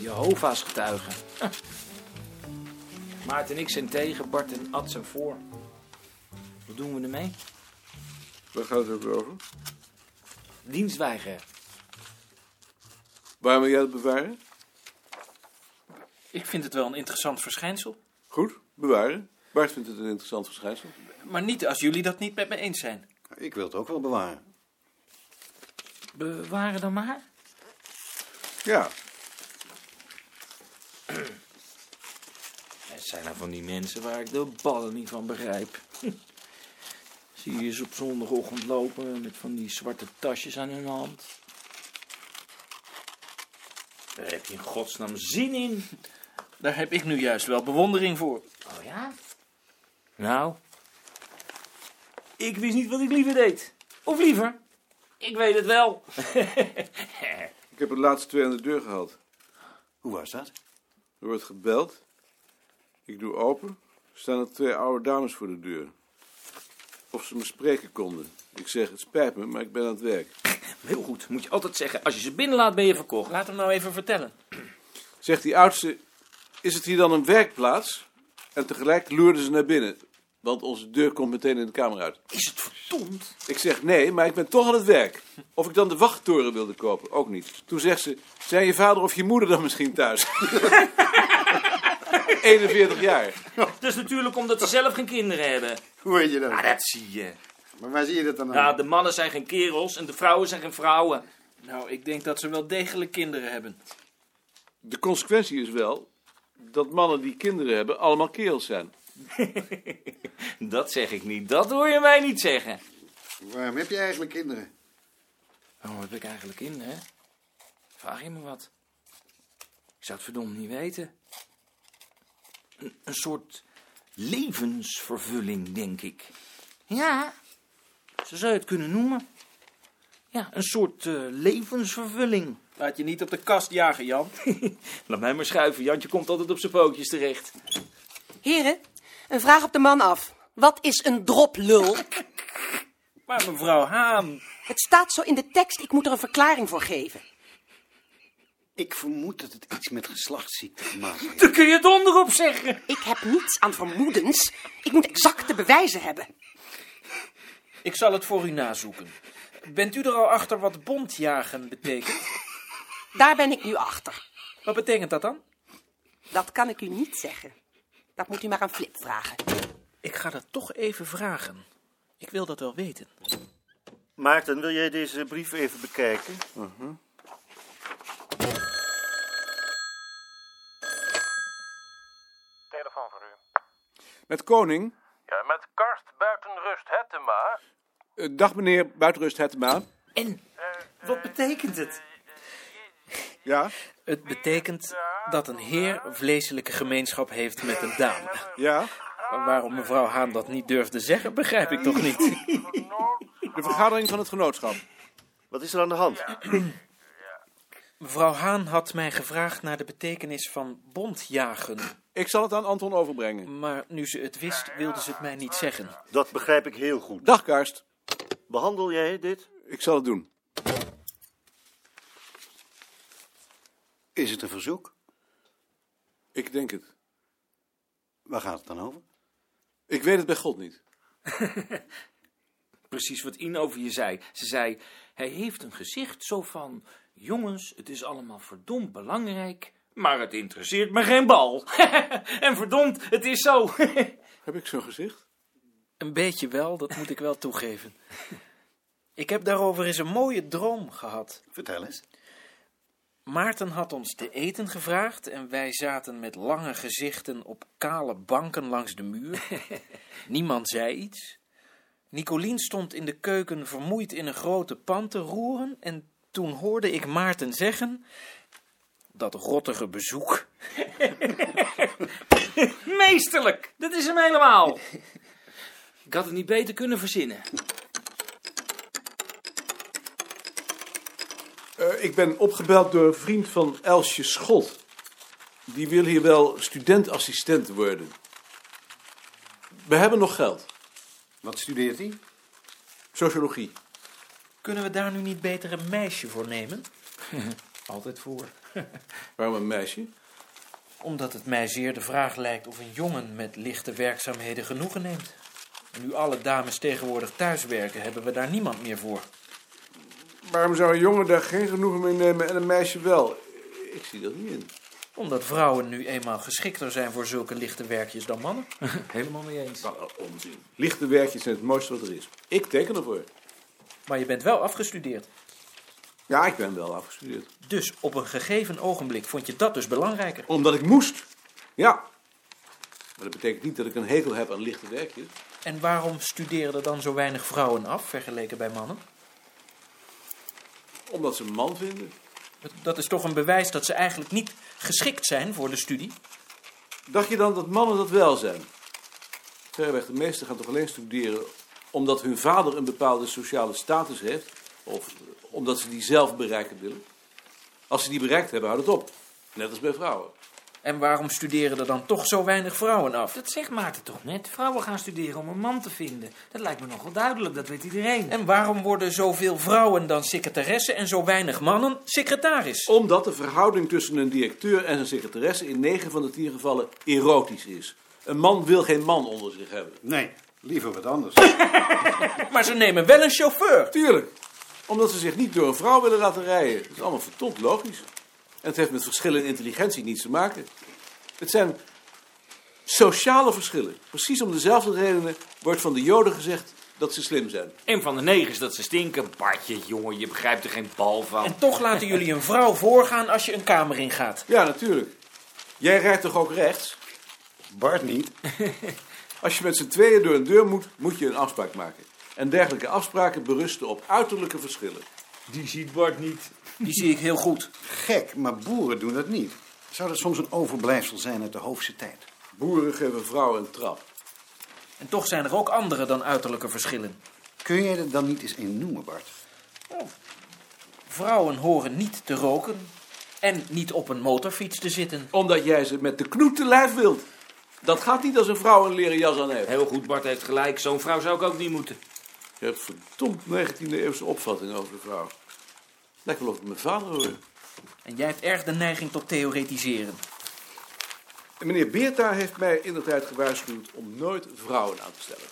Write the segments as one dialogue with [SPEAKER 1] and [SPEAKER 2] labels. [SPEAKER 1] Jehovah's getuigen. Maarten en ik zijn tegen, Bart en Ad zijn voor. Wat doen we ermee?
[SPEAKER 2] Waar gaat het ook over?
[SPEAKER 1] Dienst weigeren.
[SPEAKER 2] Waarom wil jij het bewaren?
[SPEAKER 3] Ik vind het wel een interessant verschijnsel.
[SPEAKER 2] Goed, bewaren. Bart vindt het een interessant verschijnsel.
[SPEAKER 3] Maar niet als jullie dat niet met me eens zijn.
[SPEAKER 4] Ik wil het ook wel bewaren.
[SPEAKER 1] Bewaren dan maar.
[SPEAKER 2] Ja,
[SPEAKER 1] Het zijn nou van die mensen waar ik de ballen niet van begrijp. Hm. Zie je ze op zondagochtend lopen met van die zwarte tasjes aan hun hand. Daar heb je in godsnaam zin in.
[SPEAKER 3] Daar heb ik nu juist wel bewondering voor.
[SPEAKER 1] Oh ja? Nou, ik wist niet wat ik liever deed. Of liever, ik weet het wel.
[SPEAKER 2] ik heb het laatste twee aan de deur gehad.
[SPEAKER 4] Hoe was dat?
[SPEAKER 2] Er wordt gebeld. Ik doe open. Er staan er twee oude dames voor de deur. Of ze me spreken konden. Ik zeg, het spijt me, maar ik ben aan het werk.
[SPEAKER 1] Heel goed, moet je altijd zeggen, als je ze binnenlaat ben je verkocht.
[SPEAKER 3] Laat hem nou even vertellen.
[SPEAKER 2] Zegt die oudste, is het hier dan een werkplaats? En tegelijk loerden ze naar binnen. Want onze deur komt meteen in de kamer uit.
[SPEAKER 1] Is het verdomd?
[SPEAKER 2] Ik zeg nee, maar ik ben toch aan het werk. Of ik dan de wachttoren wilde kopen, ook niet. Toen zegt ze, zijn je vader of je moeder dan misschien thuis? 41 jaar.
[SPEAKER 1] Dat is Dus natuurlijk omdat ze zelf geen kinderen hebben.
[SPEAKER 4] Hoe weet je dat?
[SPEAKER 1] Maar dat zie je.
[SPEAKER 4] Maar waar zie je dat dan
[SPEAKER 1] Ah. Ja, de mannen zijn geen kerels en de vrouwen zijn geen vrouwen.
[SPEAKER 3] Nou, ik denk dat ze wel degelijk kinderen hebben.
[SPEAKER 2] De consequentie is wel dat mannen die kinderen hebben allemaal kerels zijn.
[SPEAKER 1] Dat zeg ik niet, dat hoor je mij niet zeggen.
[SPEAKER 4] Waarom heb je eigenlijk kinderen?
[SPEAKER 1] Waarom heb ik eigenlijk kinderen? Vraag je me wat? Ik zou het verdomd niet weten. Een, een soort levensvervulling, denk ik. Ja, zo zou je het kunnen noemen. Ja, een soort eh, levensvervulling.
[SPEAKER 3] Laat je niet op de kast jagen, Jan.
[SPEAKER 1] Laat mij maar schuiven, Jantje komt altijd op zijn pootjes terecht.
[SPEAKER 5] Heren, een vraag op de man af. Wat is een droplul?
[SPEAKER 3] Maar mevrouw Haan.
[SPEAKER 5] Het staat zo in de tekst, ik moet er een verklaring voor geven.
[SPEAKER 4] Ik vermoed dat het iets met geslachtsziekte te maken heeft.
[SPEAKER 1] Dan kun je het onderop zeggen.
[SPEAKER 5] Ik heb niets aan vermoedens. Ik moet exacte bewijzen hebben.
[SPEAKER 3] Ik zal het voor u nazoeken. Bent u er al achter wat bondjagen betekent?
[SPEAKER 5] Daar ben ik nu achter.
[SPEAKER 3] Wat betekent dat dan?
[SPEAKER 5] Dat kan ik u niet zeggen. Dat moet u maar aan Flip vragen.
[SPEAKER 3] Ik ga dat toch even vragen. Ik wil dat wel weten.
[SPEAKER 6] Maarten, wil jij deze brief even bekijken?
[SPEAKER 7] Telefoon voor u.
[SPEAKER 2] Met koning,
[SPEAKER 7] Ja, met Karst Buitenrust Hettema.
[SPEAKER 2] eh, dag meneer Buitenrust Hettema.
[SPEAKER 3] En wat betekent het?
[SPEAKER 2] Ja,
[SPEAKER 3] Het betekent dat een heer een vleeselijke gemeenschap heeft met een dame.
[SPEAKER 2] ja.
[SPEAKER 3] Maar waarom mevrouw Haan dat niet durfde zeggen, begrijp ik toch niet.
[SPEAKER 2] De vergadering van het genootschap.
[SPEAKER 6] Wat is er aan de hand?
[SPEAKER 3] Mevrouw Haan had mij gevraagd naar de betekenis van bondjagen.
[SPEAKER 2] Ik zal het aan Anton overbrengen.
[SPEAKER 3] Maar nu ze het wist, wilde ze het mij niet zeggen.
[SPEAKER 6] Dat begrijp ik heel goed.
[SPEAKER 2] Dag Karst,
[SPEAKER 6] Behandel jij dit?
[SPEAKER 2] ik zal het doen.
[SPEAKER 4] Is het een verzoek?
[SPEAKER 2] Ik denk het.
[SPEAKER 4] Waar gaat het dan over?
[SPEAKER 2] Ik weet het bij God niet.
[SPEAKER 1] Precies wat Ine over je zei. Ze zei, hij heeft een gezicht zo van... Jongens, het is allemaal verdomd belangrijk, maar het interesseert me geen bal. en verdomd, het is zo.
[SPEAKER 2] Heb ik zo'n gezicht?
[SPEAKER 3] Een beetje wel, dat moet ik wel toegeven. Ik heb daarover eens een mooie droom gehad.
[SPEAKER 4] Vertel eens.
[SPEAKER 3] Maarten had ons te eten gevraagd en wij zaten met lange gezichten op kale banken langs de muur. Niemand zei iets. Nicolien stond in de keuken vermoeid in een grote pan te roeren en toen hoorde ik Maarten zeggen... Dat rottige bezoek.
[SPEAKER 1] Meesterlijk, dat is hem helemaal. Ik had het niet beter kunnen verzinnen.
[SPEAKER 2] Eh, ik ben opgebeld door een vriend van Elsje Schot. Die wil hier wel studentassistent worden. We hebben nog geld.
[SPEAKER 4] Wat studeert hij?
[SPEAKER 2] Sociologie.
[SPEAKER 3] Kunnen we daar nu niet beter een meisje voor nemen?
[SPEAKER 1] Altijd voor.
[SPEAKER 2] Waarom een meisje?
[SPEAKER 3] Omdat het mij zeer de vraag lijkt of een jongen met lichte werkzaamheden genoegen neemt. En nu alle dames tegenwoordig thuiswerken, hebben we daar niemand meer voor.
[SPEAKER 2] Waarom zou een jongen daar geen genoegen mee nemen en een meisje wel? Ik zie dat niet in.
[SPEAKER 3] Omdat vrouwen nu eenmaal geschikter zijn voor zulke lichte werkjes dan mannen.
[SPEAKER 1] Helemaal mee eens.
[SPEAKER 2] Wat een onzin. Lichte werkjes zijn het mooiste wat er is. Ik teken ervoor.
[SPEAKER 3] Maar je bent wel afgestudeerd.
[SPEAKER 2] Ja, ik ben wel afgestudeerd.
[SPEAKER 3] Dus op een gegeven ogenblik vond je dat dus belangrijker.
[SPEAKER 2] Omdat ik moest. Ja. Maar dat betekent niet dat ik een hekel heb aan lichte werkjes.
[SPEAKER 3] En waarom studeren er dan zo weinig vrouwen af vergeleken bij mannen?
[SPEAKER 2] Omdat ze een man vinden.
[SPEAKER 3] Dat is toch een bewijs dat ze eigenlijk niet geschikt zijn voor de studie?
[SPEAKER 2] Dacht je dan dat mannen dat wel zijn? Verreweg, de meesten gaan toch alleen studeren omdat hun vader een bepaalde sociale status heeft. Of omdat ze die zelf bereiken willen. Als ze die bereikt hebben, houdt het op. Net als bij vrouwen.
[SPEAKER 3] En waarom studeren er dan toch zo weinig vrouwen af?
[SPEAKER 1] Dat zegt Maarten toch net? Vrouwen gaan studeren om een man te vinden. Dat lijkt me nogal duidelijk, dat weet iedereen.
[SPEAKER 3] En waarom worden zoveel vrouwen dan secretaressen en zo weinig mannen secretaris?
[SPEAKER 2] Omdat de verhouding tussen een directeur en zijn secretaresse in 9 van de 10 gevallen erotisch is. Een man wil geen man onder zich hebben.
[SPEAKER 4] Nee, liever wat anders.
[SPEAKER 3] Maar ze nemen wel een chauffeur.
[SPEAKER 2] Tuurlijk, omdat ze zich niet door een vrouw willen laten rijden. Dat is allemaal verdomd logisch. En het heeft met verschillen in intelligentie niets te maken. Het zijn sociale verschillen. Precies om dezelfde redenen wordt van de Joden gezegd dat ze slim zijn.
[SPEAKER 1] Een van de negen is dat ze stinken. Bartje, jongen, je begrijpt er geen bal van.
[SPEAKER 3] En toch laten jullie een vrouw voorgaan als je een kamer ingaat.
[SPEAKER 2] Ja, natuurlijk. Jij rijdt toch ook rechts?
[SPEAKER 4] Bart niet.
[SPEAKER 2] Als je met z'n tweeën door een deur moet, moet je een afspraak maken. En dergelijke afspraken berusten op uiterlijke verschillen.
[SPEAKER 1] Die ziet Bart niet.
[SPEAKER 3] Die zie ik heel goed.
[SPEAKER 4] Gek, maar boeren doen dat niet. Zou dat soms een overblijfsel zijn uit de hoofdse tijd?
[SPEAKER 2] Boeren geven vrouwen een trap.
[SPEAKER 3] En toch zijn er ook andere dan uiterlijke verschillen.
[SPEAKER 4] Kun jij dat dan niet eens in noemen, Bart?
[SPEAKER 3] Vrouwen horen niet te roken en niet op een motorfiets te zitten.
[SPEAKER 2] Omdat jij ze met de knoet te lijf wilt. Dat gaat niet als een vrouw een leren jas aan heeft.
[SPEAKER 1] Heel goed, Bart heeft gelijk. Zo'n vrouw zou ik ook niet moeten.
[SPEAKER 2] Je hebt verdomd 19e eeuwse opvatting over de vrouw. Lijkt wel of ik mijn vader hoor.
[SPEAKER 3] En jij hebt erg de neiging tot theoretiseren.
[SPEAKER 2] En meneer Beerta heeft mij inderdaad gewaarschuwd om nooit vrouwen aan te stellen.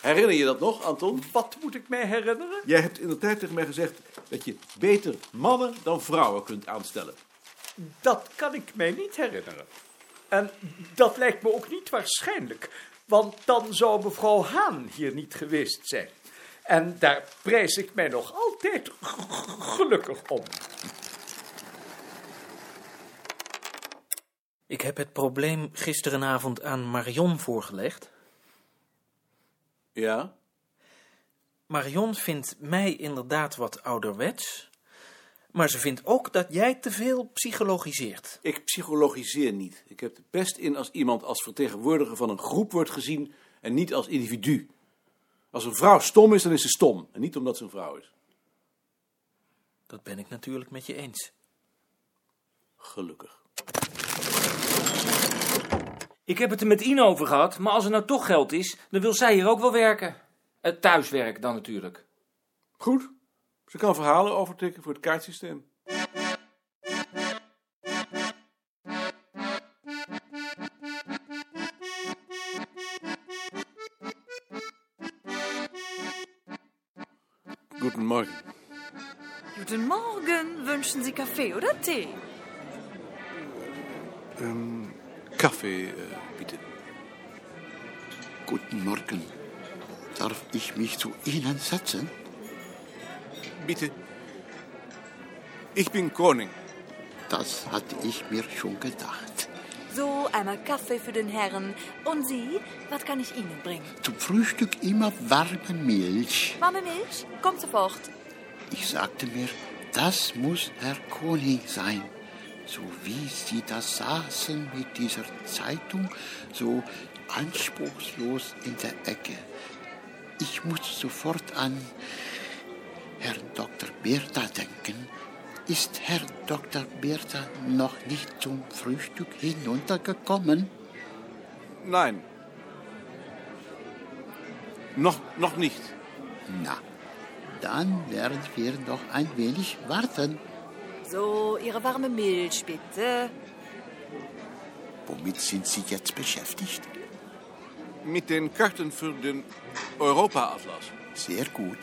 [SPEAKER 2] Herinner je dat nog, Anton?
[SPEAKER 1] Wat moet ik mij herinneren?
[SPEAKER 2] Jij hebt inderdaad tegen mij gezegd dat je beter mannen dan vrouwen kunt aanstellen.
[SPEAKER 8] Dat kan ik mij niet herinneren. En dat lijkt me ook niet waarschijnlijk, want dan zou mevrouw Haan hier niet geweest zijn. En daar prijs ik mij nog altijd g- gelukkig om.
[SPEAKER 3] Ik heb het probleem gisterenavond aan Marion voorgelegd.
[SPEAKER 2] Ja?
[SPEAKER 3] Marion vindt mij inderdaad wat ouderwets. Maar ze vindt ook dat jij te veel psychologiseert.
[SPEAKER 2] Ik psychologiseer niet. Ik heb er best in als iemand als vertegenwoordiger van een groep wordt gezien en niet als individu. Als een vrouw stom is, dan is ze stom. En niet omdat ze een vrouw is.
[SPEAKER 3] Dat ben ik natuurlijk met je eens.
[SPEAKER 2] Gelukkig.
[SPEAKER 1] Ik heb het er met Ine over gehad, maar als er nou toch geld is, dan wil zij hier ook wel werken. Het thuiswerk dan natuurlijk.
[SPEAKER 2] Goed. Ze kan verhalen overtikken voor het kaartsysteem. Goedemorgen.
[SPEAKER 9] Guten Morgen, wünschen Sie Kaffee oder Tee?
[SPEAKER 2] Kaffee bieden.
[SPEAKER 4] Guten Morgen. Darf ich mich zu Ihnen setzen?
[SPEAKER 2] Bitte. Ik ben koning.
[SPEAKER 4] Das hatte ich mir schon gedacht.
[SPEAKER 9] So, einmal Kaffee für den Herrn. Und Sie, was kann ich Ihnen bringen?
[SPEAKER 4] Zum Frühstück immer warme Milch.
[SPEAKER 9] Warme Milch? Kommt sofort.
[SPEAKER 4] Ich sagte mir, das muss Herr König sein. So wie Sie da saßen mit dieser Zeitung, so anspruchslos in der Ecke. Ich muss sofort an Herrn Dr. Bertha denken. Ist Herr Dr. Bertha noch nicht zum Frühstück hinuntergekommen?
[SPEAKER 2] Nein. Noch, nog niet.
[SPEAKER 4] Na, dann werden wir noch ein wenig warten.
[SPEAKER 9] So, Ihre warme Milch, bitte.
[SPEAKER 4] Womit sind Sie jetzt beschäftigt?
[SPEAKER 2] Mit den karten voor de Europa-atlas.
[SPEAKER 4] Sehr gut.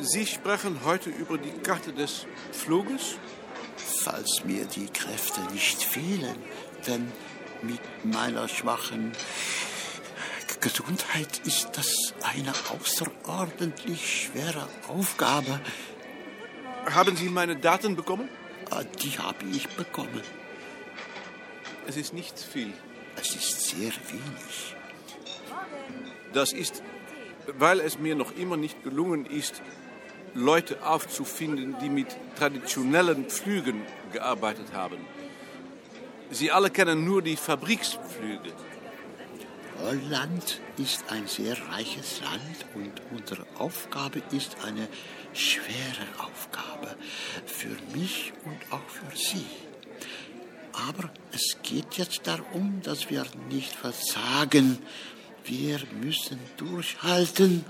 [SPEAKER 2] Sie sprachen heute über die Karte des Fluges?
[SPEAKER 4] Falls mir die Kräfte nicht fehlen, denn mit meiner schwachen Gesundheit ist das eine außerordentlich schwere Aufgabe.
[SPEAKER 2] Haben Sie meine Daten bekommen?
[SPEAKER 4] Äh, Die habe ich bekommen.
[SPEAKER 2] Es ist nicht viel.
[SPEAKER 4] Es ist sehr wenig.
[SPEAKER 2] Das ist, weil es mir noch immer nicht gelungen ist, Leute aufzufinden, die mit traditionellen Flügen gearbeitet haben. Sie alle kennen nur die Fabriksflüge.
[SPEAKER 4] Holland ist ein sehr reiches Land und unsere Aufgabe ist eine schwere Aufgabe für mich und auch für Sie. Aber es geht jetzt darum, dass wir nicht versagen. Wir müssen durchhalten,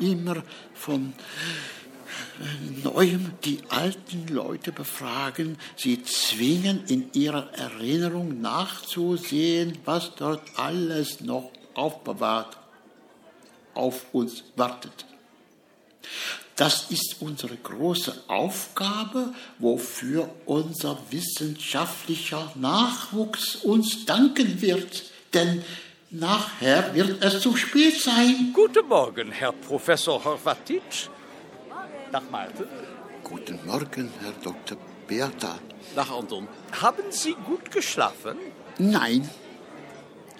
[SPEAKER 4] immer von Neuem die alten Leute befragen, sie zwingen in ihrer Erinnerung nachzusehen, was dort alles noch aufbewahrt auf uns wartet. Das ist unsere große Aufgabe, wofür unser wissenschaftlicher Nachwuchs uns danken wird, denn nachher wird es zu spät sein.
[SPEAKER 8] Guten Morgen, Herr Professor Horvatic. Dag Maarten.
[SPEAKER 4] Guten Morgen, Herr Dr. Bertha.
[SPEAKER 2] Dag Anton.
[SPEAKER 8] Haben Sie gut geschlafen?
[SPEAKER 4] Nein,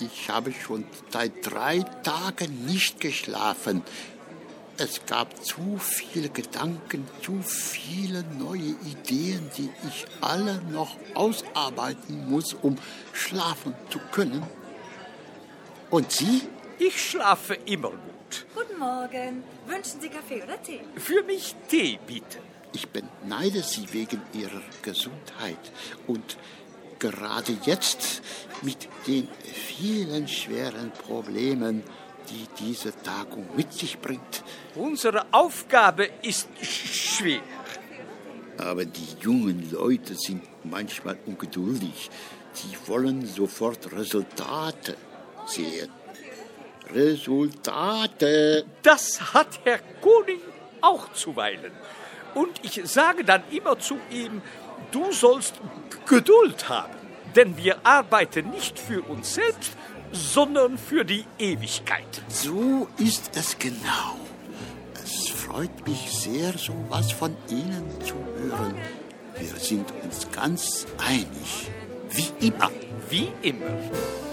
[SPEAKER 4] ich habe schon seit drei Tagen nicht geschlafen. Es gab zu viele Gedanken, zu viele neue Ideen, die ich alle noch ausarbeiten muss, um schlafen zu können. Und Sie?
[SPEAKER 8] Ich schlafe immer gut.
[SPEAKER 9] Guten Morgen. Wünschen Sie Kaffee oder Tee?
[SPEAKER 8] Für mich Tee bitte.
[SPEAKER 4] Ich beneide Sie wegen Ihrer Gesundheit. Und gerade jetzt mit den vielen schweren Problemen, die diese Tagung mit sich bringt.
[SPEAKER 8] Unsere Aufgabe ist sch- schwer.
[SPEAKER 4] Aber die jungen Leute sind manchmal ungeduldig. Sie wollen sofort Resultate sehen. Resultate.
[SPEAKER 8] Das hat Herr Koning auch zuweilen. Und ich sage dann immer zu ihm, du sollst Geduld haben, denn wir arbeiten nicht für uns selbst, sondern für die Ewigkeit.
[SPEAKER 4] So ist es genau. Es freut mich sehr, so was von Ihnen zu hören. Wir sind uns ganz einig. Wie immer.
[SPEAKER 8] Wie immer.